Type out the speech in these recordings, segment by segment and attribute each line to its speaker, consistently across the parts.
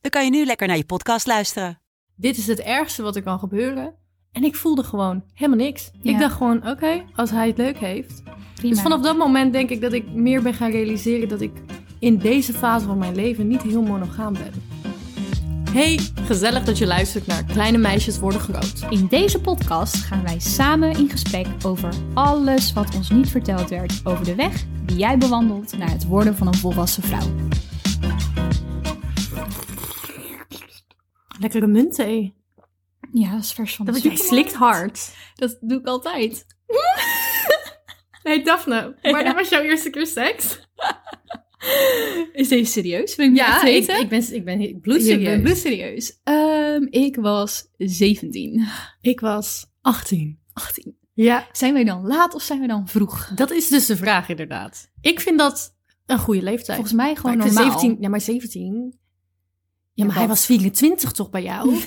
Speaker 1: dan kan je nu lekker naar je podcast luisteren.
Speaker 2: dit is het ergste wat er kan gebeuren. En ik voelde gewoon helemaal niks.
Speaker 3: Ja.
Speaker 2: Ik dacht gewoon, oké, als hij het leuk heeft.
Speaker 3: Prima.
Speaker 2: Dus vanaf dat moment denk ik dat ik meer ben gaan realiseren dat ik in deze fase van mijn leven niet heel monogaam ben. Hey, gezellig dat je luistert naar Kleine Meisjes Worden Groot.
Speaker 3: In deze podcast gaan wij samen in gesprek over alles wat ons niet verteld werd over de weg die jij bewandelt naar het worden van een volwassen vrouw.
Speaker 2: Lekkere muntthee.
Speaker 3: Ja, dat is vers van de
Speaker 2: Dat jij
Speaker 3: supermarkt.
Speaker 2: slikt hard.
Speaker 3: Dat doe ik altijd.
Speaker 2: Nee, Daphne, maar
Speaker 3: Ja.
Speaker 2: dat was jouw eerste keer seks?
Speaker 3: Is deze serieus? Wil je ja,
Speaker 2: Ja, ik,
Speaker 3: weten?
Speaker 2: ik ben, ik ben
Speaker 3: Ik
Speaker 2: bloedserieus.
Speaker 3: ben bloedserieus. Ehm, ik was 17.
Speaker 2: Ik was 18.
Speaker 3: 18.
Speaker 2: Ja,
Speaker 3: Zijn wij dan laat of zijn we dan vroeg?
Speaker 2: dat is dus de vraag inderdaad. Ik vind dat een goede leeftijd.
Speaker 3: Volgens mij gewoon
Speaker 2: Maar ik vind
Speaker 3: normaal.
Speaker 2: 17, ja, maar 17. Ja, maar
Speaker 3: wat?
Speaker 2: hij was 24 toch bij jou?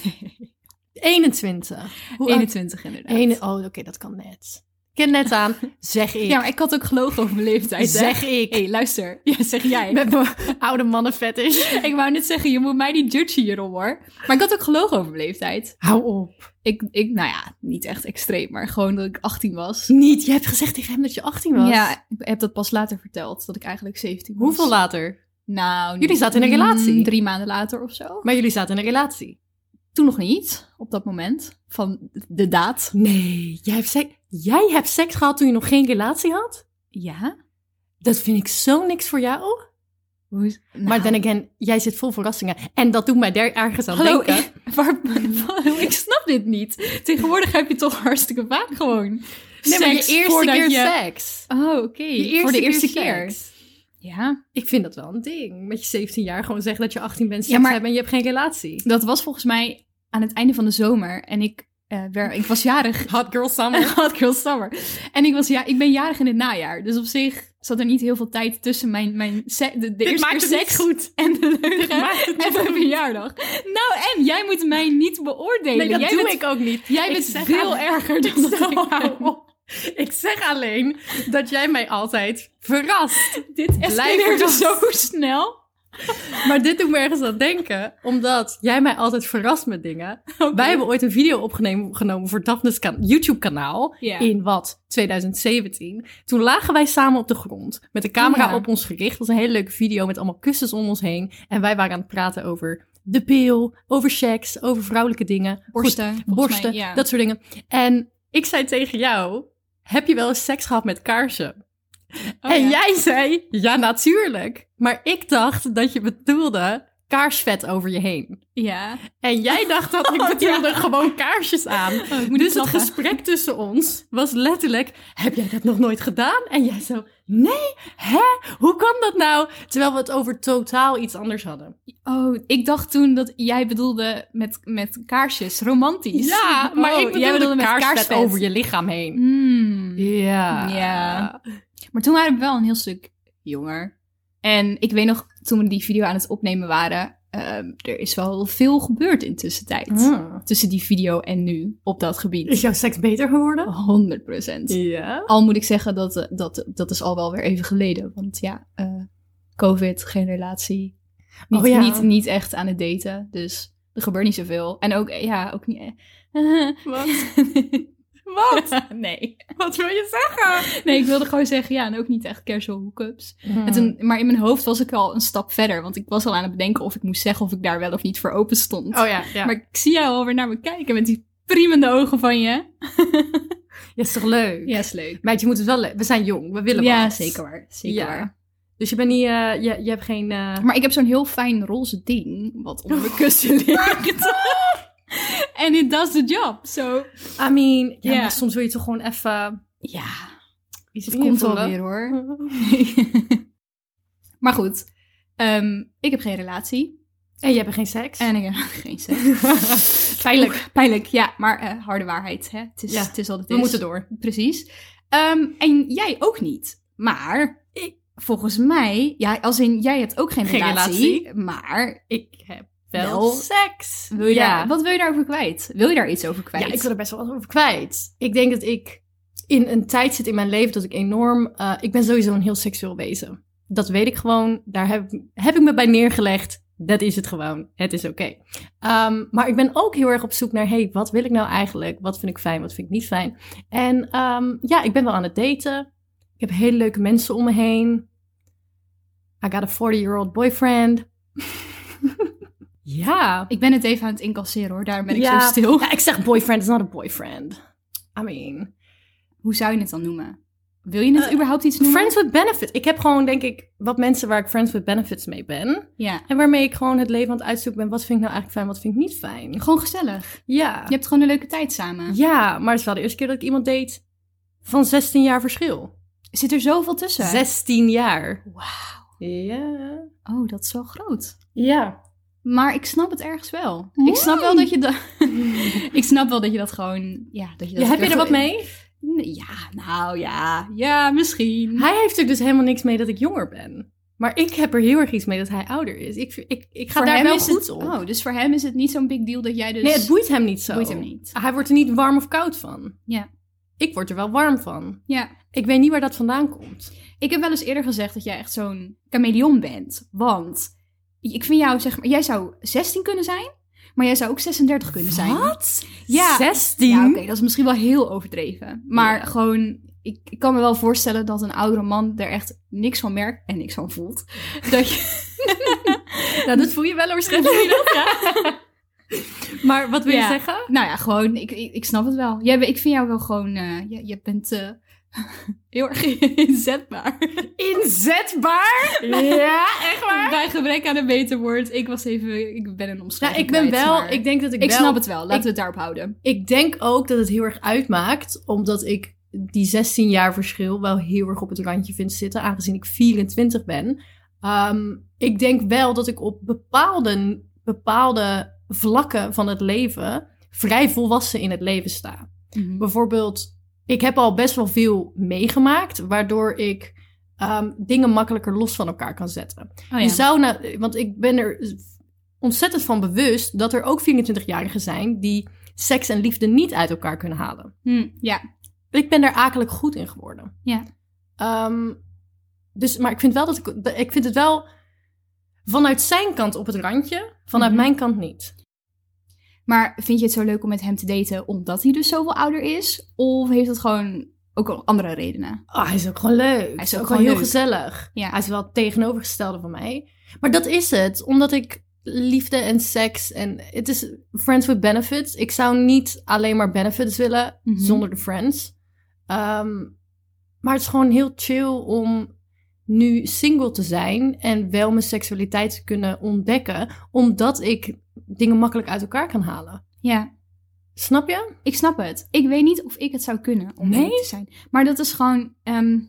Speaker 2: 21. Hoe
Speaker 3: 21 inderdaad.
Speaker 2: oud? Ene- oh, oké, dat kan net. Ik ken net aan. Zeg ik.
Speaker 3: Ja, maar ik had ook gelogen over mijn leeftijd. hè?
Speaker 2: zeg ik.
Speaker 3: hey, luister. Ja, zeg jij.
Speaker 2: Met mijn oude mannen fetish.
Speaker 3: Ik wou net zeggen, je moet mij niet judgen hierom hoor. Maar ik had ook gelogen over mijn leeftijd.
Speaker 2: Hou op.
Speaker 3: Ik, ik, nou ja, niet echt extreem, maar gewoon dat ik 18 was.
Speaker 2: Niet. Je hebt gezegd tegen hem dat je 18 was.
Speaker 3: Ja, ik heb dat pas later verteld, dat ik eigenlijk 17 was.
Speaker 2: Hoeveel later?
Speaker 3: Nou, niet-
Speaker 2: Jullie zaten in een
Speaker 3: mm,
Speaker 2: relatie.
Speaker 3: drie maanden later of zo.
Speaker 2: Maar jullie zaten in een relatie.
Speaker 3: Toen nog niet, op dat moment, van de daad.
Speaker 2: Nee, jij hebt, seks, jij hebt seks gehad toen je nog geen relatie had?
Speaker 3: Ja.
Speaker 2: Dat vind ik zo niks voor jou.
Speaker 3: Hoe is-
Speaker 2: Maar
Speaker 3: nou,
Speaker 2: dan again, jij zit vol verrassingen. En dat doet mij daar ergens aan
Speaker 3: Hallo,
Speaker 2: denken.
Speaker 3: ik, waar- waar- ik snap dit niet. Tegenwoordig heb je toch hartstikke vaak gewoon
Speaker 2: Nee, maar je eerste
Speaker 3: voordat
Speaker 2: keer
Speaker 3: je-
Speaker 2: seks.
Speaker 3: Oh, oké. Voor de eerste keer.
Speaker 2: seks.
Speaker 3: Ja,
Speaker 2: Ik vind dat wel een ding. Met je 17 jaar gewoon zeggen dat je 18 bent,
Speaker 3: Ja,
Speaker 2: seks
Speaker 3: maar-
Speaker 2: hebt en je hebt geen relatie.
Speaker 3: Dat was volgens mij aan het einde van de zomer. En ik, eh, wer- ik was jarig.
Speaker 2: Hot girl summer.
Speaker 3: Hot girl summer. En ik, was, ja, ik ben jarig in het najaar. Dus op zich zat er niet heel veel tijd tussen mijn, mijn se- de, de
Speaker 2: Dit
Speaker 3: eerste
Speaker 2: maakt
Speaker 3: keer
Speaker 2: het niet
Speaker 3: seks
Speaker 2: goed.
Speaker 3: en de leugen
Speaker 2: maakt het
Speaker 3: en
Speaker 2: niet
Speaker 3: mijn
Speaker 2: goed.
Speaker 3: verjaardag. Nou, en jij moet mij niet beoordelen.
Speaker 2: Nee, dat
Speaker 3: jij
Speaker 2: doe
Speaker 3: bent,
Speaker 2: ik ook niet.
Speaker 3: Jij
Speaker 2: Ik
Speaker 3: bent
Speaker 2: zeg
Speaker 3: veel
Speaker 2: alleen-
Speaker 3: erger dan dat
Speaker 2: Zo,
Speaker 3: ik
Speaker 2: hou
Speaker 3: ben.
Speaker 2: op. Ik zeg alleen dat jij mij altijd verrast.
Speaker 3: Dit escaleerde
Speaker 2: verrast.
Speaker 3: zo snel.
Speaker 2: Maar dit doet me ergens aan denken, omdat jij mij altijd verrast met dingen.
Speaker 3: Oké.
Speaker 2: Wij hebben ooit een video opgenomen genomen voor Daphne's kan- YouTube-kanaal.
Speaker 3: Ja.
Speaker 2: In wat? 2017. Toen lagen wij samen op de grond. Met de camera
Speaker 3: Ja.
Speaker 2: op ons gericht. Dat was een hele leuke video met allemaal kussens om ons heen. En wij waren aan het praten over de pil, over seks, over vrouwelijke dingen. Goed,
Speaker 3: Borsten, volgens
Speaker 2: borsten,
Speaker 3: mij, ja.
Speaker 2: dat soort dingen. En ik zei tegen jou, heb je wel eens seks gehad met kaarsen?
Speaker 3: Oh,
Speaker 2: en
Speaker 3: ja.
Speaker 2: jij zei, ja natuurlijk. Maar ik dacht dat je bedoelde kaarsvet over je heen.
Speaker 3: Ja.
Speaker 2: En jij dacht dat ik bedoelde gewoon kaarsjes aan.
Speaker 3: Oh, ik Oh, moet
Speaker 2: dus het
Speaker 3: klappen.
Speaker 2: gesprek tussen ons was letterlijk, heb jij dat nog nooit gedaan? En jij zo, nee, hè? Hoe kan dat nou? Terwijl we het over totaal iets anders hadden.
Speaker 3: Oh, ik dacht toen dat jij bedoelde met, met kaarsjes, romantisch.
Speaker 2: Ja, maar
Speaker 3: Oh,
Speaker 2: ik bedoelde,
Speaker 3: jij bedoelde met
Speaker 2: kaarsvet,
Speaker 3: kaarsvet.
Speaker 2: over je lichaam heen.
Speaker 3: Hmm.
Speaker 2: Ja.
Speaker 3: Ja. Maar toen waren we wel een heel stuk jonger. En ik weet nog, toen we die video aan het opnemen waren, ehm, er is wel veel gebeurd in tussentijd. Tussen die video en nu, op dat
Speaker 2: Hmm. Is
Speaker 3: gebied.
Speaker 2: jouw seks beter geworden?
Speaker 3: 100 procent.
Speaker 2: Ja.
Speaker 3: Al moet ik zeggen, dat, eh, dat, dat is al wel weer even geleden. Want ja, eh, COVID, geen relatie. Niet,
Speaker 2: Oh ja.
Speaker 3: niet, niet echt aan het daten. Dus er gebeurt niet zoveel. En ook, eh, ja, ook niet... eh,
Speaker 2: Wat?
Speaker 3: Wat? nee.
Speaker 2: Wat wil je zeggen?
Speaker 3: Nee, ik wilde gewoon zeggen, ja, en ook niet echt casual hookups. En toen, maar in mijn hoofd was ik al een stap verder. Want ik was al aan het bedenken of ik moest zeggen of ik daar wel of niet voor open stond.
Speaker 2: Oh ja, ja.
Speaker 3: Maar ik zie jou alweer naar me kijken met die priemende ogen van je.
Speaker 2: Ja, is toch leuk?
Speaker 3: Ja, is leuk.
Speaker 2: Maar je moet het wel... le- We zijn jong, we willen
Speaker 3: ja,
Speaker 2: wat.
Speaker 3: zeker waar. Zeker
Speaker 2: Ja.
Speaker 3: waar.
Speaker 2: Dus je bent niet... eh, je, je hebt geen... eh,
Speaker 3: Maar ik heb zo'n heel fijn roze ding wat onder mijn kussen ligt. En it does the job. So,
Speaker 2: I mean... Ja,
Speaker 3: Ja.
Speaker 2: maar soms wil je toch gewoon even...
Speaker 3: ja,
Speaker 2: Iets
Speaker 3: het komt wel
Speaker 2: invoelen.
Speaker 3: weer hoor.
Speaker 2: Hm.
Speaker 3: maar goed, ehm, ik heb geen relatie.
Speaker 2: En je hebt geen seks.
Speaker 3: En ik heb geen seks. pijnlijk, pijnlijk. Ja, maar eh, harde waarheid. Hè? Het, is,
Speaker 2: Ja,
Speaker 3: het is wat het
Speaker 2: we
Speaker 3: is.
Speaker 2: moeten door.
Speaker 3: Precies. Ehm, en jij ook niet. Maar ik- volgens mij, ja, als in jij hebt ook geen,
Speaker 2: Geen
Speaker 3: relatie,
Speaker 2: relatie.
Speaker 3: Maar
Speaker 2: ik heb wel,
Speaker 3: Wel.
Speaker 2: seks.
Speaker 3: wil je
Speaker 2: ja.
Speaker 3: daar, wat wil je daarover kwijt? Wil je daar iets over kwijt?
Speaker 2: Ja, ik wil er best wel wat over kwijt. Ik denk dat ik in een tijd zit in mijn leven dat ik enorm... eh, ik ben sowieso een heel seksueel wezen. Dat weet ik gewoon. Daar heb, ik- heb ik me bij neergelegd. Dat is het gewoon. Het is oké. Ehm, maar ik ben ook heel erg op zoek naar... hey, wat wil ik nou eigenlijk? Wat vind ik fijn? Wat vind ik niet fijn? En ehm, ja, ik ben wel aan het daten. Ik heb hele leuke mensen om me heen. I got a 40-year-old boyfriend. ja.
Speaker 3: Ik ben het even aan het incasseren hoor, daarom ben ik
Speaker 2: Ja.
Speaker 3: zo stil.
Speaker 2: Ja, ik zeg boyfriend is not a boyfriend. I mean...
Speaker 3: Hoe zou je het dan noemen? Wil je het
Speaker 2: Eh,
Speaker 3: überhaupt iets noemen?
Speaker 2: Friends with benefits. Ik heb gewoon, denk ik, wat mensen waar ik friends with benefits mee ben.
Speaker 3: Ja,
Speaker 2: En waarmee ik gewoon het leven aan het uitzoeken ben. Wat vind ik nou eigenlijk fijn, wat vind ik niet fijn?
Speaker 3: gewoon gezellig.
Speaker 2: Ja.
Speaker 3: Je hebt gewoon een leuke tijd samen.
Speaker 2: Ja, maar het is wel de eerste keer dat ik iemand date van 16 jaar verschil.
Speaker 3: Zit er zoveel tussen?
Speaker 2: 16 jaar.
Speaker 3: Wauw.
Speaker 2: Ja.
Speaker 3: Oh, dat is wel groot.
Speaker 2: Ja.
Speaker 3: Maar ik snap het ergens wel. Ik snap wel dat je dat... ik snap wel dat je dat gewoon... Ja, dat je dat
Speaker 2: Ja, heb je er wat mee?
Speaker 3: Ja, nou ja. Ja, misschien.
Speaker 2: Hij heeft er dus helemaal niks mee dat ik jonger ben. Maar ik heb er heel erg iets mee dat hij ouder is. Ik, ik, ik ga
Speaker 3: Voor
Speaker 2: daar
Speaker 3: hem
Speaker 2: wel
Speaker 3: is
Speaker 2: goed
Speaker 3: het,
Speaker 2: op.
Speaker 3: Oh, dus voor hem is het niet zo'n big deal dat jij dus...
Speaker 2: Nee, het boeit hem niet zo.
Speaker 3: boeit hem niet.
Speaker 2: Hij wordt er niet warm of koud van.
Speaker 3: Ja.
Speaker 2: Ik word er wel warm van.
Speaker 3: Ja.
Speaker 2: Ik weet niet waar dat vandaan komt.
Speaker 3: Ik heb wel eens eerder gezegd dat jij echt zo'n chameleon bent. Want ik vind jou, zeg maar... Jij zou 16 kunnen zijn, maar jij zou ook 36 kunnen zijn.
Speaker 2: Wat?
Speaker 3: Ja.
Speaker 2: 16?
Speaker 3: Ja, oké, dat is misschien wel heel overdreven. Maar
Speaker 2: Ja.
Speaker 3: gewoon, ik, ik kan me wel voorstellen dat een oudere man er echt niks van merkt en niks van voelt. Dat je...
Speaker 2: Nou, dat voel je wel waarschijnlijk. maar wat wil
Speaker 3: Ja.
Speaker 2: je zeggen?
Speaker 3: nou ja, gewoon, ik, ik, ik snap het wel. Jij, ben- ik vind jou wel gewoon, eh je, je bent eh, heel erg inzetbaar.
Speaker 2: Inzetbaar? ja, echt
Speaker 3: Bij gebrek aan een beter woord, ik was even, ik ben een
Speaker 2: Nou,
Speaker 3: omschrijving
Speaker 2: ik ben
Speaker 3: kwijt,
Speaker 2: wel...
Speaker 3: maar
Speaker 2: Ik denk dat ik,
Speaker 3: ik
Speaker 2: wel...
Speaker 3: snap het wel, laten
Speaker 2: ik-
Speaker 3: we het daarop houden.
Speaker 2: Ik denk ook dat het heel erg uitmaakt. Omdat ik die 16 jaar verschil wel heel erg op het randje vind zitten. Aangezien ik 24 ben. Ehm, ik denk wel dat ik op bepaalde, bepaalde vlakken van het leven... vrij volwassen in het leven sta. Mhm. bijvoorbeeld, ik heb al best wel veel meegemaakt, waardoor ik ehm, dingen makkelijker los van elkaar kan zetten.
Speaker 3: Oh,
Speaker 2: Je
Speaker 3: ja.
Speaker 2: zou na- want ik ben er ontzettend van bewust dat er ook 24-jarigen zijn die seks en liefde niet uit elkaar kunnen halen.
Speaker 3: Hm, ja,
Speaker 2: Ik ben daar akelig goed in geworden.
Speaker 3: Ja.
Speaker 2: Ehm, dus, maar ik vind wel dat ik, ik vind het wel vanuit zijn kant op het randje, vanuit
Speaker 3: Mhm.
Speaker 2: mijn kant niet.
Speaker 3: maar vind je het zo leuk om met hem te daten omdat hij dus zoveel ouder is? Of heeft dat gewoon ook al andere redenen?
Speaker 2: Ah, hij is ook gewoon leuk. Hij is ook, gewoon heel
Speaker 3: leuk.
Speaker 2: gezellig.
Speaker 3: Ja.
Speaker 2: Hij is wel het tegenovergestelde van mij. Maar dat is het. Omdat ik liefde en seks en... Het is friends with benefits. Ik zou niet alleen maar benefits willen
Speaker 3: Mhm.
Speaker 2: zonder de friends. Ehm, maar het is gewoon heel chill om nu single te zijn... en wel mijn seksualiteit te kunnen ontdekken... omdat ik dingen makkelijk uit elkaar kan halen.
Speaker 3: Ja,
Speaker 2: Snap je?
Speaker 3: Ik snap het. Ik weet niet of ik het zou kunnen om
Speaker 2: Nee?
Speaker 3: nee? te zijn. Maar dat is gewoon. ehm,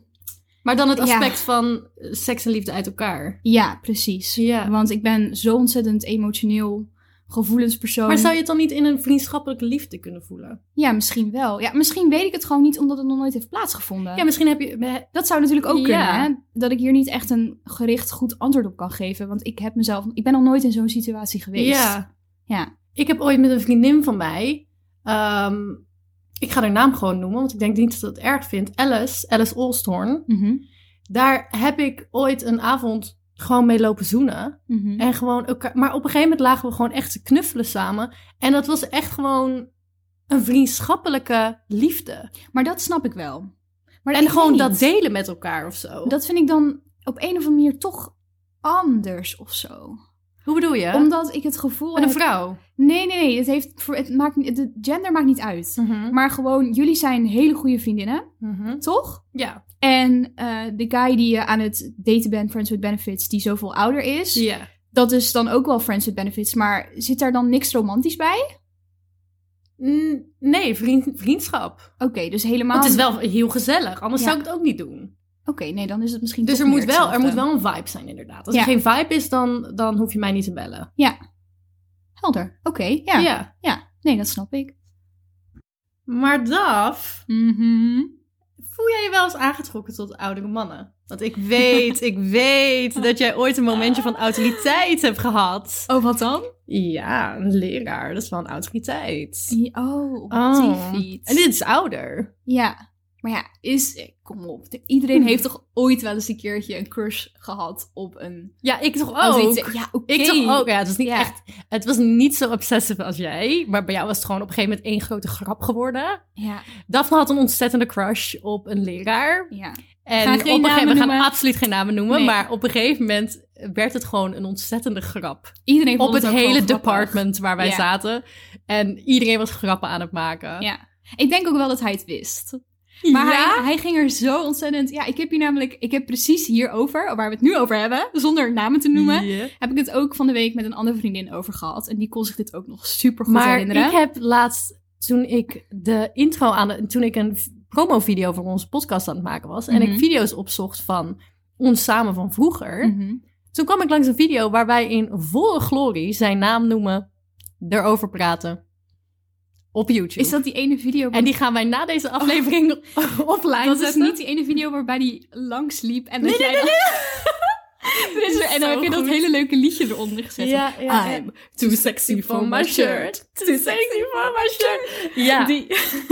Speaker 2: Maar dan het
Speaker 3: Ja.
Speaker 2: aspect van eh, seks en liefde uit elkaar.
Speaker 3: ja, precies.
Speaker 2: Ja.
Speaker 3: Want ik ben zo ontzettend emotioneel, gevoelenspersoon.
Speaker 2: Maar zou je het dan niet in een vriendschappelijke liefde kunnen voelen?
Speaker 3: Ja, misschien wel. Ja, misschien weet ik het gewoon niet omdat het nog nooit heeft plaatsgevonden.
Speaker 2: Ja, misschien heb je.
Speaker 3: dat zou natuurlijk ook
Speaker 2: Ja.
Speaker 3: kunnen, hè? Dat ik hier niet echt een gericht goed antwoord op kan geven. Want ik heb mezelf... Ik ben nog nooit in zo'n situatie geweest.
Speaker 2: Ja.
Speaker 3: Ja.
Speaker 2: Ik heb ooit met een vriendin van mij. ehm, ik ga haar naam gewoon noemen, want ik denk niet dat ze het erg vindt. Alice, Alice Olstorn.
Speaker 3: Mhm,
Speaker 2: Daar heb ik ooit een avond gewoon mee lopen zoenen.
Speaker 3: mhm.
Speaker 2: En gewoon elkaar. Maar op een gegeven moment lagen we gewoon echt te knuffelen samen. En dat was echt gewoon een vriendschappelijke liefde.
Speaker 3: Maar dat snap ik wel. Maar
Speaker 2: En
Speaker 3: ik
Speaker 2: gewoon
Speaker 3: weet
Speaker 2: dat
Speaker 3: niet.
Speaker 2: delen met elkaar of zo.
Speaker 3: Dat vind ik dan op een of andere manier toch anders of zo.
Speaker 2: Hoe bedoel je?
Speaker 3: Omdat ik het gevoel
Speaker 2: Met een
Speaker 3: heb-
Speaker 2: vrouw.
Speaker 3: Nee, nee, nee. Het, heeft, voor- het maakt, niet- het gender maakt niet uit. Maar gewoon, jullie zijn hele goede vriendinnen,
Speaker 2: Mhm.
Speaker 3: toch?
Speaker 2: Ja.
Speaker 3: En eh, de guy die je aan het daten bent, Friends with Benefits, die zoveel ouder is.
Speaker 2: Ja.
Speaker 3: Dat is dan ook wel Friends with Benefits. Maar zit daar dan niks romantisch bij?
Speaker 2: Mm, Nee, vriend- vriendschap.
Speaker 3: Oké, dus helemaal...
Speaker 2: Want het is wel heel gezellig, anders
Speaker 3: Ja.
Speaker 2: zou ik het ook niet doen.
Speaker 3: Oké, nee, dan is het misschien
Speaker 2: Dus
Speaker 3: toch
Speaker 2: er moet,
Speaker 3: meer
Speaker 2: wel, er moet
Speaker 3: hetzelfde.
Speaker 2: wel een vibe zijn, inderdaad. Als
Speaker 3: Ja.
Speaker 2: er geen vibe is, dan, dan hoef je mij niet te bellen.
Speaker 3: Helder. Oké, ja. ja. Nee, dat snap ik.
Speaker 2: Maar Daf,
Speaker 3: Mhm.
Speaker 2: voel jij je wel eens aangetrokken tot oudere mannen? Want ik weet, ik weet dat jij ooit een momentje van autoriteit hebt gehad.
Speaker 3: Oh, wat dan?
Speaker 2: Ja, een leraar, dat is wel een autoriteit.
Speaker 3: Die- Oh, op
Speaker 2: Oh.
Speaker 3: die fiets.
Speaker 2: En dit is ouder.
Speaker 3: Ja. Maar ja, is... eh, Kom op. Iedereen heeft toch ooit wel eens een keertje een crush gehad op een...
Speaker 2: Ja, ik toch
Speaker 3: Oh,
Speaker 2: ook.
Speaker 3: Ja, oké.
Speaker 2: Ik toch oh, ook. Ja, het was niet
Speaker 3: Ja.
Speaker 2: echt. Het was niet zo obsessive als jij, maar bij jou was het gewoon op een gegeven moment één grote grap geworden.
Speaker 3: Ja,
Speaker 2: Daphne had een ontzettende crush op een leraar.
Speaker 3: ja.
Speaker 2: En
Speaker 3: Gaan geen
Speaker 2: op een gegeven
Speaker 3: namen
Speaker 2: we gaan
Speaker 3: noemen.
Speaker 2: absoluut geen namen noemen,
Speaker 3: Nee.
Speaker 2: maar op een gegeven moment werd het gewoon een ontzettende grap.
Speaker 3: Iedereen vond
Speaker 2: op het,
Speaker 3: ook
Speaker 2: hele
Speaker 3: gewoon grappig.
Speaker 2: department waar wij
Speaker 3: Ja.
Speaker 2: zaten. En iedereen was grappen aan het maken.
Speaker 3: Ja. Ik denk ook wel dat hij het wist. Maar hij, hij ging er zo ontzettend... Ja, ik heb hier namelijk... Ik heb precies hierover, waar we het nu over hebben, zonder namen te noemen,
Speaker 2: Ja.
Speaker 3: heb ik het ook van de week met een andere vriendin over gehad. En die kon zich dit ook nog super goed
Speaker 2: Maar
Speaker 3: herinneren.
Speaker 2: ik heb laatst, toen ik de intro aan de, toen ik een v- promovideo voor onze podcast aan het maken was. En
Speaker 3: Mhm.
Speaker 2: ik video's opzocht van ons samen van vroeger.
Speaker 3: Mhm.
Speaker 2: Toen kwam ik langs een video waar wij in volle glorie zijn naam noemen, erover praten. Op YouTube.
Speaker 3: Is dat die ene video...
Speaker 2: En die gaan wij na deze aflevering offline
Speaker 3: dat is
Speaker 2: zetten.
Speaker 3: niet die ene video waarbij die langs liep en dat
Speaker 2: Nee,
Speaker 3: jij
Speaker 2: nee,
Speaker 3: dan- Er is er- en dan
Speaker 2: Zo
Speaker 3: heb je dat
Speaker 2: goed.
Speaker 3: hele leuke liedje eronder gezet.
Speaker 2: Ja, ja.
Speaker 3: I'm too sexy for my shirt. Too sexy for my shirt.
Speaker 2: Ja.
Speaker 3: Die-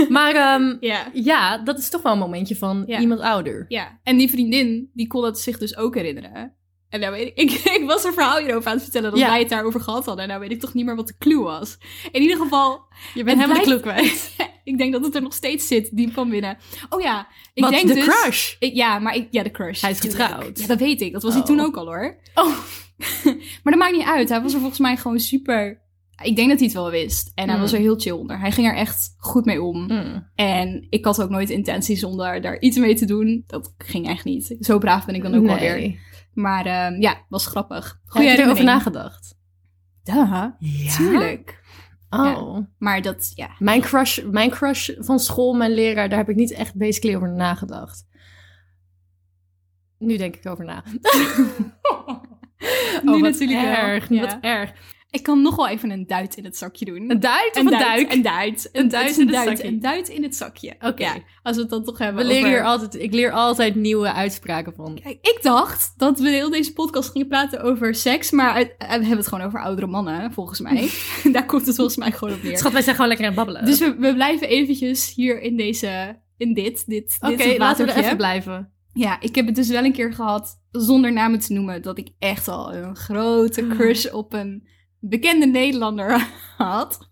Speaker 2: Maar ehm,
Speaker 3: ja.
Speaker 2: ja, dat is toch wel een momentje van
Speaker 3: Ja.
Speaker 2: iemand ouder.
Speaker 3: ja. En die vriendin, die kon dat zich dus ook herinneren. En nou weet ik, ik, ik was een verhaal hierover aan het vertellen dat
Speaker 2: Ja.
Speaker 3: wij het daarover gehad hadden. En nou weet ik toch niet meer wat de clue was. In ieder geval,
Speaker 2: Je
Speaker 3: bent helemaal de
Speaker 2: kwijt.
Speaker 3: ik denk dat het er nog steeds zit, diep van binnen. Oh ja, ik
Speaker 2: Wat,
Speaker 3: denk
Speaker 2: de
Speaker 3: dus...
Speaker 2: crush?
Speaker 3: Ik- ja, maar ik, ja, de crush.
Speaker 2: Hij is
Speaker 3: natuurlijk.
Speaker 2: getrouwd.
Speaker 3: Ja, dat weet ik. Dat was
Speaker 2: Oh.
Speaker 3: hij toen ook al hoor.
Speaker 2: Oh.
Speaker 3: maar dat maakt niet uit. Hij was er volgens mij gewoon super. Ik denk dat hij het wel wist. En hij
Speaker 2: Mm.
Speaker 3: was er heel chill onder. Hij ging er echt goed mee om. En ik had ook nooit intenties om daar, daar iets mee te doen. Dat ging echt niet. Zo braaf ben ik dan ook wel weer. Maar ehm, ja, was grappig.
Speaker 2: Heb je erover
Speaker 3: herinnering.
Speaker 2: nagedacht?
Speaker 3: Duh,
Speaker 1: Ja.
Speaker 3: tuurlijk.
Speaker 2: Oh.
Speaker 3: Maar dat, ja.
Speaker 2: Mijn, crush, mijn crush van school, mijn leraar, daar heb ik niet echt basically over nagedacht. Nu denk ik over na.
Speaker 3: Nu
Speaker 2: wat
Speaker 3: natuurlijk wel.
Speaker 2: erg.
Speaker 3: Ja.
Speaker 2: Wat erg.
Speaker 3: Ik kan nog wel even een duit in het zakje doen.
Speaker 2: Een duit of een, duik?
Speaker 3: Een duit. Een duit
Speaker 2: is een
Speaker 3: in het zakje.
Speaker 2: duikie.
Speaker 3: Een duit in het zakje. Oké.
Speaker 2: Oké.
Speaker 3: als we het dan toch hebben
Speaker 2: We leren
Speaker 3: over-
Speaker 2: hier altijd, ik leer altijd nieuwe uitspraken van.
Speaker 3: Kijk, ik dacht dat we heel deze podcast gingen praten over seks, maar uit- eh, we hebben het gewoon over oudere mannen, volgens mij. Daar komt het volgens mij gewoon op neer.
Speaker 2: Schat, wij zijn gewoon lekker aan het babbelen.
Speaker 3: Dus we, we blijven eventjes hier in deze, in dit, dit,
Speaker 2: oké,
Speaker 3: dit is het
Speaker 2: laten we er
Speaker 3: watertje.
Speaker 2: even blijven.
Speaker 3: Ja, ik heb het dus wel een keer gehad, zonder namen te noemen, dat ik echt al een grote crush op een bekende Nederlander had.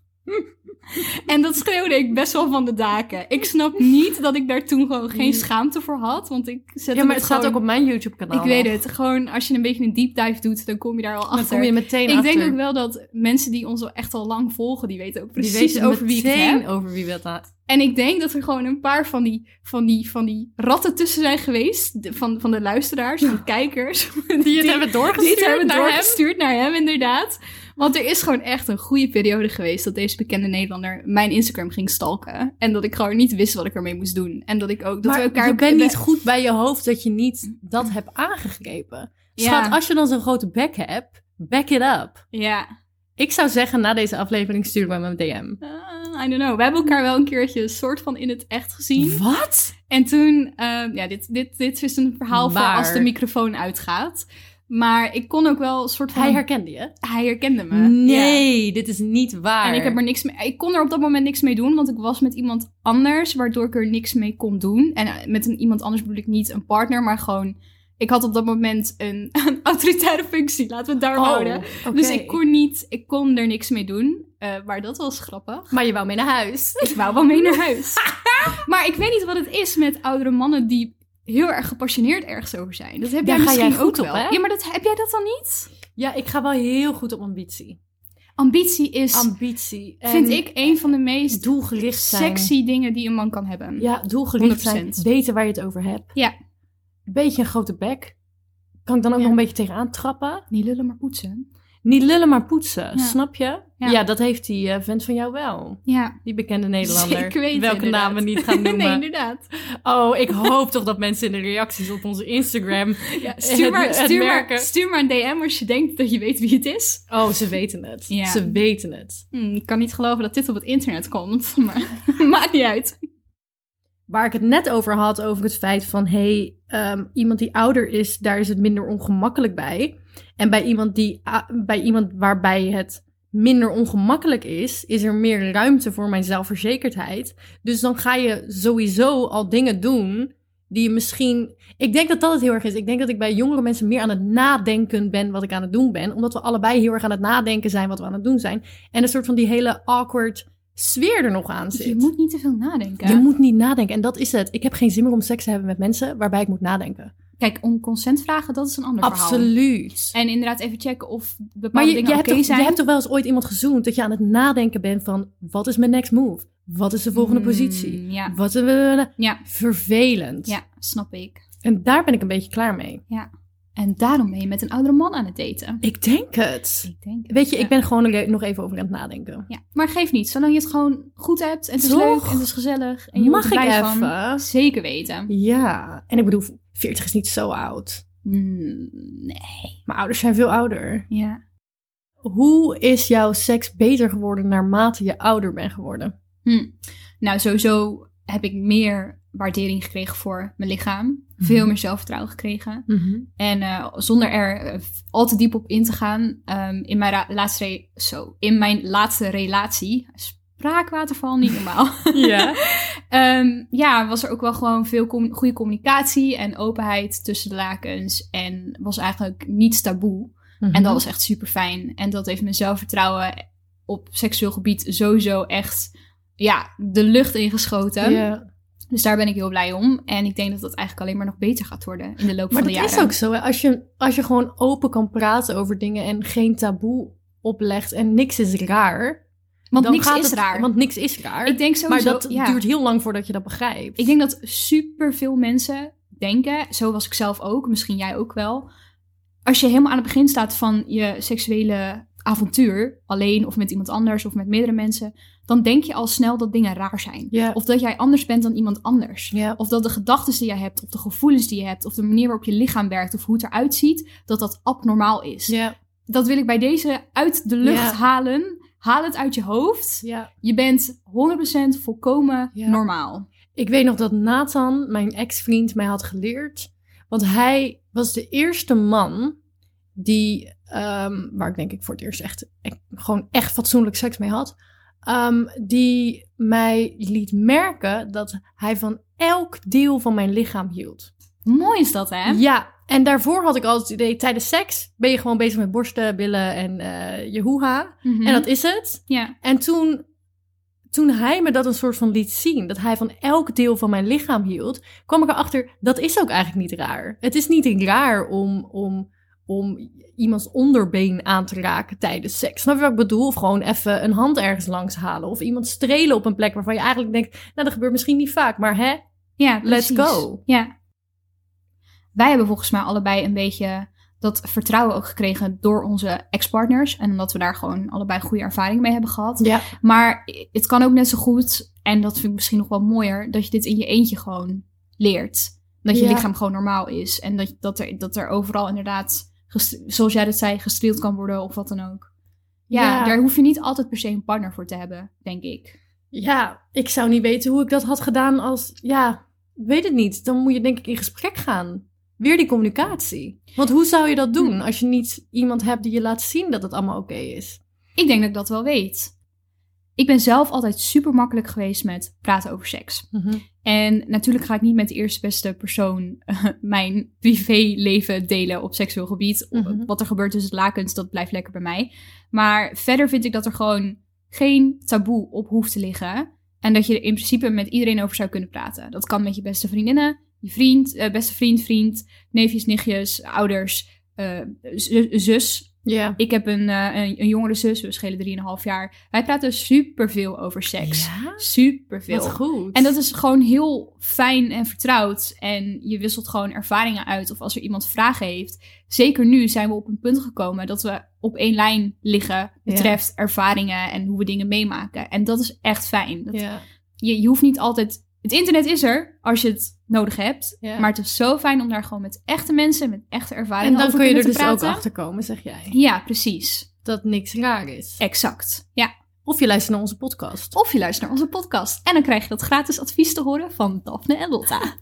Speaker 3: En dat schreeuwde ik best wel van de daken. Ik snap niet dat ik daar toen gewoon geen schaamte voor had, want ik zette
Speaker 2: Ja, maar
Speaker 3: dat
Speaker 2: het staat
Speaker 3: gewoon-
Speaker 2: ook op mijn YouTube-kanaal.
Speaker 3: ik weet het. Gewoon als je een beetje een deep dive doet, dan kom je daar al
Speaker 2: Dan
Speaker 3: achter.
Speaker 2: kom je meteen
Speaker 3: ik
Speaker 2: achter.
Speaker 3: denk ook wel dat mensen die ons al echt al lang volgen, die weten ook
Speaker 2: Die
Speaker 3: precies
Speaker 2: weten
Speaker 3: over wie ik het
Speaker 2: meteen
Speaker 3: heb.
Speaker 2: over wie we het aan-
Speaker 3: En ik denk dat er gewoon een paar van die, van die, van die ratten tussen zijn geweest. de- van, van de luisteraars, van de kijkers.
Speaker 2: Die het hebben
Speaker 3: die
Speaker 2: doorgestuurd
Speaker 3: het hebben
Speaker 2: naar hem.
Speaker 3: doorgestuurd naar hem, inderdaad. Want er is gewoon echt een goede periode geweest dat deze bekende Nederlander mijn Instagram ging stalken. En dat ik gewoon niet wist wat ik ermee moest doen. En dat ik ook, dat
Speaker 2: maar
Speaker 3: we elkaar...
Speaker 2: je bent
Speaker 3: we-
Speaker 2: niet goed bij je hoofd dat je niet dat hebt aangegrepen.
Speaker 3: Ja.
Speaker 2: Schat, als je dan zo'n grote bek hebt, back it up.
Speaker 3: Ja,
Speaker 2: Ik zou zeggen, na deze aflevering stuur me een DM.
Speaker 3: Eh, I don't know. We hebben elkaar wel een keertje een soort van in het echt gezien.
Speaker 2: Wat?
Speaker 3: En toen, ehm, ja, dit, dit, dit is dus een verhaal
Speaker 2: Maar-
Speaker 3: voor als de microfoon uitgaat. Maar ik kon ook wel een soort van...
Speaker 2: Hij herkende je?
Speaker 3: hij herkende me. Ja.
Speaker 2: Nee, dit is niet waar.
Speaker 3: En ik, heb er niks mee, ik kon er op dat moment niks mee doen, want ik was met iemand anders, waardoor ik er niks mee kon doen. En eh, met een, iemand anders bedoel ik niet een partner, maar gewoon... Ik had op dat moment een, een autoritaire functie, laten we het daar
Speaker 2: Oh,
Speaker 3: houden.
Speaker 2: oké.
Speaker 3: Dus ik kon, niet, ik kon er niks mee doen, Eh, maar dat was grappig.
Speaker 2: Maar je wou mee naar huis.
Speaker 3: Ik wou wel mee naar huis. maar ik weet niet wat het is met oudere mannen die heel erg gepassioneerd ergens over zijn. Dat heb
Speaker 2: Daar
Speaker 3: jij
Speaker 2: ga
Speaker 3: misschien
Speaker 2: jij goed
Speaker 3: ook
Speaker 2: op,
Speaker 3: wel.
Speaker 2: hè?
Speaker 3: Ja, maar dat, heb jij dat dan niet?
Speaker 2: Ja, ik ga wel heel goed op ambitie.
Speaker 3: Ambitie is,
Speaker 2: Ambitie. En
Speaker 3: vind ik, een van de meest
Speaker 2: doelgericht zijn.
Speaker 3: sexy dingen die een man kan hebben.
Speaker 2: Ja, doelgericht zijn.
Speaker 3: 100%.
Speaker 2: Weten waar je het over hebt.
Speaker 3: Ja.
Speaker 2: Beetje een grote bek. Kan ik dan ook
Speaker 3: Ja.
Speaker 2: nog een beetje tegenaan trappen?
Speaker 3: Niet lullen, maar poetsen.
Speaker 2: Niet lullen, maar poetsen.
Speaker 3: Ja.
Speaker 2: Snap je? Ja.
Speaker 3: Ja.
Speaker 2: dat heeft die eh, vent van jou wel.
Speaker 3: Ja.
Speaker 2: Die bekende Nederlander.
Speaker 3: Zeker weten,
Speaker 2: Welke
Speaker 3: inderdaad.
Speaker 2: namen niet gaan noemen.
Speaker 3: nee, inderdaad.
Speaker 2: Oh, ik hoop toch dat mensen in de reacties op onze Instagram...
Speaker 3: Ja, stuur, maar,
Speaker 2: het
Speaker 3: stuur, maar,
Speaker 2: merken.
Speaker 3: stuur maar een DM als je denkt dat je weet wie het is.
Speaker 2: Oh, ze weten het.
Speaker 3: Ja.
Speaker 2: Ze weten het.
Speaker 3: Hm, ik kan niet geloven dat dit op het internet komt, maar maakt niet uit.
Speaker 2: Waar ik het net over had, over het feit van... hey, ehm, iemand die ouder is, daar is het minder ongemakkelijk bij. En bij iemand, die, a- bij iemand waarbij het minder ongemakkelijk is... is er meer ruimte voor mijn zelfverzekerdheid. Dus dan ga je sowieso al dingen doen die je misschien... Ik denk dat dat het heel erg is. Ik denk dat ik bij jongere mensen meer aan het nadenken ben wat ik aan het doen ben. Omdat we allebei heel erg aan het nadenken zijn wat we aan het doen zijn. En een soort van die hele awkward sfeer er nog aan zit.
Speaker 3: Je moet niet te veel nadenken.
Speaker 2: Je moet niet nadenken. En dat is het. Ik heb geen zin meer om seks te hebben met mensen waarbij ik moet nadenken.
Speaker 3: Kijk, om consent vragen, dat is een ander verhaal.
Speaker 2: Absoluut.
Speaker 3: En inderdaad even checken of bepaalde
Speaker 2: Maar je,
Speaker 3: dingen
Speaker 2: je,
Speaker 3: oké
Speaker 2: hebt toch,
Speaker 3: zijn.
Speaker 2: je hebt toch wel eens ooit iemand gezoend dat je aan het nadenken bent van... wat is mijn next move? Wat is de volgende
Speaker 3: Mm,
Speaker 2: positie?
Speaker 3: Ja.
Speaker 2: Wat we...
Speaker 3: Ja.
Speaker 2: Vervelend.
Speaker 3: ja, snap ik.
Speaker 2: En daar ben ik een beetje klaar mee.
Speaker 3: En daarom ben je met een oudere man aan het daten.
Speaker 2: Ik denk het.
Speaker 3: Ik denk het,
Speaker 2: Weet je,
Speaker 3: ja.
Speaker 2: ik ben gewoon er nog even over aan het nadenken.
Speaker 3: Ja, maar geef niet. Zolang je het gewoon goed hebt en het is
Speaker 2: Toch?
Speaker 3: leuk en het is gezellig. En je
Speaker 2: Mag
Speaker 3: wordt er
Speaker 2: ik
Speaker 3: blij
Speaker 2: even?
Speaker 3: Van, zeker weten.
Speaker 2: Ja. En ik bedoel, 40 is niet zo oud.
Speaker 3: Mm, nee.
Speaker 2: Mijn ouders zijn veel ouder.
Speaker 3: Ja.
Speaker 2: Hoe is jouw seks beter geworden naarmate je ouder bent geworden?
Speaker 3: Hm. Nou, sowieso heb ik meer waardering gekregen voor mijn lichaam. Veel
Speaker 2: Mhm.
Speaker 3: meer zelfvertrouwen gekregen. En eh, zonder er eh, al te diep op in te gaan, ehm, in, mijn ra- laatste re- zo, in mijn laatste relatie, spraakwaterval, niet normaal.
Speaker 2: Ja.
Speaker 3: Ehm, ja, was er ook wel gewoon veel com- goede communicatie en openheid tussen de lakens. En was eigenlijk niets taboe. En
Speaker 2: Mhm.
Speaker 3: dat was echt super fijn. En dat heeft mijn zelfvertrouwen op seksueel gebied sowieso echt ja, de lucht ingeschoten.
Speaker 2: Ja.
Speaker 3: Dus daar ben ik heel blij om. En ik denk dat dat eigenlijk alleen maar nog beter gaat worden in de loop
Speaker 2: Maar
Speaker 3: van
Speaker 2: dat
Speaker 3: de jaren.
Speaker 2: is ook zo. Hè? Als, je, als je gewoon open kan praten over dingen en geen taboe oplegt en niks is raar.
Speaker 3: Want
Speaker 2: dan
Speaker 3: niks
Speaker 2: gaat
Speaker 3: is
Speaker 2: het-
Speaker 3: raar.
Speaker 2: Want niks is raar.
Speaker 3: ik denk sowieso,
Speaker 2: maar dat
Speaker 3: ja.
Speaker 2: duurt heel lang voordat je dat begrijpt.
Speaker 3: Ik denk dat superveel mensen denken, zo was ik zelf ook, misschien jij ook wel. Als je helemaal aan het begin staat van je seksuele avontuur, alleen of met iemand anders of met meerdere mensen, dan denk je al snel dat dingen raar zijn.
Speaker 2: Ja.
Speaker 3: Of dat jij anders bent dan iemand anders.
Speaker 2: Ja.
Speaker 3: Of dat de gedachten die jij hebt, of de gevoelens die je hebt, of de manier waarop je lichaam werkt, of hoe het eruit ziet, dat dat abnormaal is.
Speaker 2: Ja.
Speaker 3: Dat wil ik bij deze uit de lucht
Speaker 2: Ja.
Speaker 3: halen. Haal het uit je hoofd.
Speaker 2: ja.
Speaker 3: Je bent 100% volkomen
Speaker 2: Ja.
Speaker 3: normaal.
Speaker 2: Ik weet nog dat Nathan, mijn ex-vriend, mij had geleerd. Want hij was de eerste man die, ehm, waar ik denk ik voor het eerst echt, echt- gewoon echt fatsoenlijk seks mee had. ehm, die mij liet merken dat hij van elk deel van mijn lichaam hield.
Speaker 3: Mooi is dat, hè?
Speaker 2: Ja, en daarvoor had ik altijd het idee, tijdens seks ben je gewoon bezig met borsten, billen en eh je hoeha.
Speaker 3: Mhm.
Speaker 2: En dat is het.
Speaker 3: Ja.
Speaker 2: En toen, toen hij me dat een soort van liet zien, dat hij van elk deel van mijn lichaam hield, kwam ik erachter, dat is ook eigenlijk niet raar. Het is niet raar om, om, om iemands onderbeen aan te raken tijdens seks. Snap je wat ik bedoel? Of gewoon even een hand ergens langs halen. Of iemand strelen op een plek waarvan je eigenlijk denkt, nou dat gebeurt misschien niet vaak, maar hè?
Speaker 3: ja
Speaker 2: Let's
Speaker 3: precies.
Speaker 2: go.
Speaker 3: Ja. Wij hebben volgens mij allebei een beetje dat vertrouwen ook gekregen door onze ex-partners. En omdat we daar gewoon allebei goede ervaring mee hebben gehad.
Speaker 2: Ja.
Speaker 3: Maar het kan ook net zo goed, en dat vind ik misschien nog wel mooier, dat je dit in je eentje gewoon leert. Dat je
Speaker 2: Ja.
Speaker 3: lichaam gewoon normaal is. En dat, dat, er, dat er overal inderdaad, gest- zoals jij dat zei, gestreeld kan worden of wat dan ook. Ja,
Speaker 2: Ja.
Speaker 3: daar hoef je niet altijd per se een partner voor te hebben, denk ik.
Speaker 2: Ja, ik zou niet weten hoe ik dat had gedaan als... Ja, ik weet het niet. Dan moet je denk ik in gesprek gaan. Weer die communicatie. Want hoe zou je dat doen
Speaker 3: Hmm.
Speaker 2: als je niet iemand hebt die je laat zien dat het allemaal oké is?
Speaker 3: Ik denk dat ik dat wel weet. Ik ben zelf altijd super makkelijk geweest met praten over seks. En natuurlijk ga ik niet met de eerste beste persoon eh, mijn privéleven delen op seksueel gebied.
Speaker 2: Mhm.
Speaker 3: Wat er gebeurt tussen het lakens, dat blijft lekker bij mij. Maar verder vind ik dat er gewoon geen taboe op hoeft te liggen. En dat je er in principe met iedereen over zou kunnen praten. Dat kan met je beste vriendinnen, je vriend, eh, beste vriend, vriend, neefjes, nichtjes, ouders, eh, z- zus.
Speaker 2: Ja.
Speaker 3: Ik heb een, eh, een, een jongere zus, we schelen 3,5 jaar. Wij praten superveel over seks.
Speaker 2: Ja?
Speaker 3: Superveel.
Speaker 2: Wat goed.
Speaker 3: En dat is gewoon heel fijn en vertrouwd. En je wisselt gewoon ervaringen uit. Of als er iemand vragen heeft. Zeker nu zijn we op een punt gekomen dat we op één lijn liggen. Betreft ervaringen en hoe we dingen meemaken. En dat is echt fijn. Dat-
Speaker 2: Ja.
Speaker 3: je, je hoeft niet altijd. Het internet is er als je het nodig hebt.
Speaker 2: Ja.
Speaker 3: Maar het is zo fijn om daar gewoon met echte mensen, met echte ervaringen
Speaker 2: En dan
Speaker 3: over
Speaker 2: kun je er
Speaker 3: kunnen
Speaker 2: dus
Speaker 3: te praten.
Speaker 2: ook achter komen, zeg jij.
Speaker 3: Ja, precies.
Speaker 2: Dat niks raar is.
Speaker 3: Exact. Ja.
Speaker 2: Of je luistert naar onze podcast.
Speaker 3: Of je luistert naar onze podcast. En dan krijg je dat gratis advies te horen van Daphne en Lotta.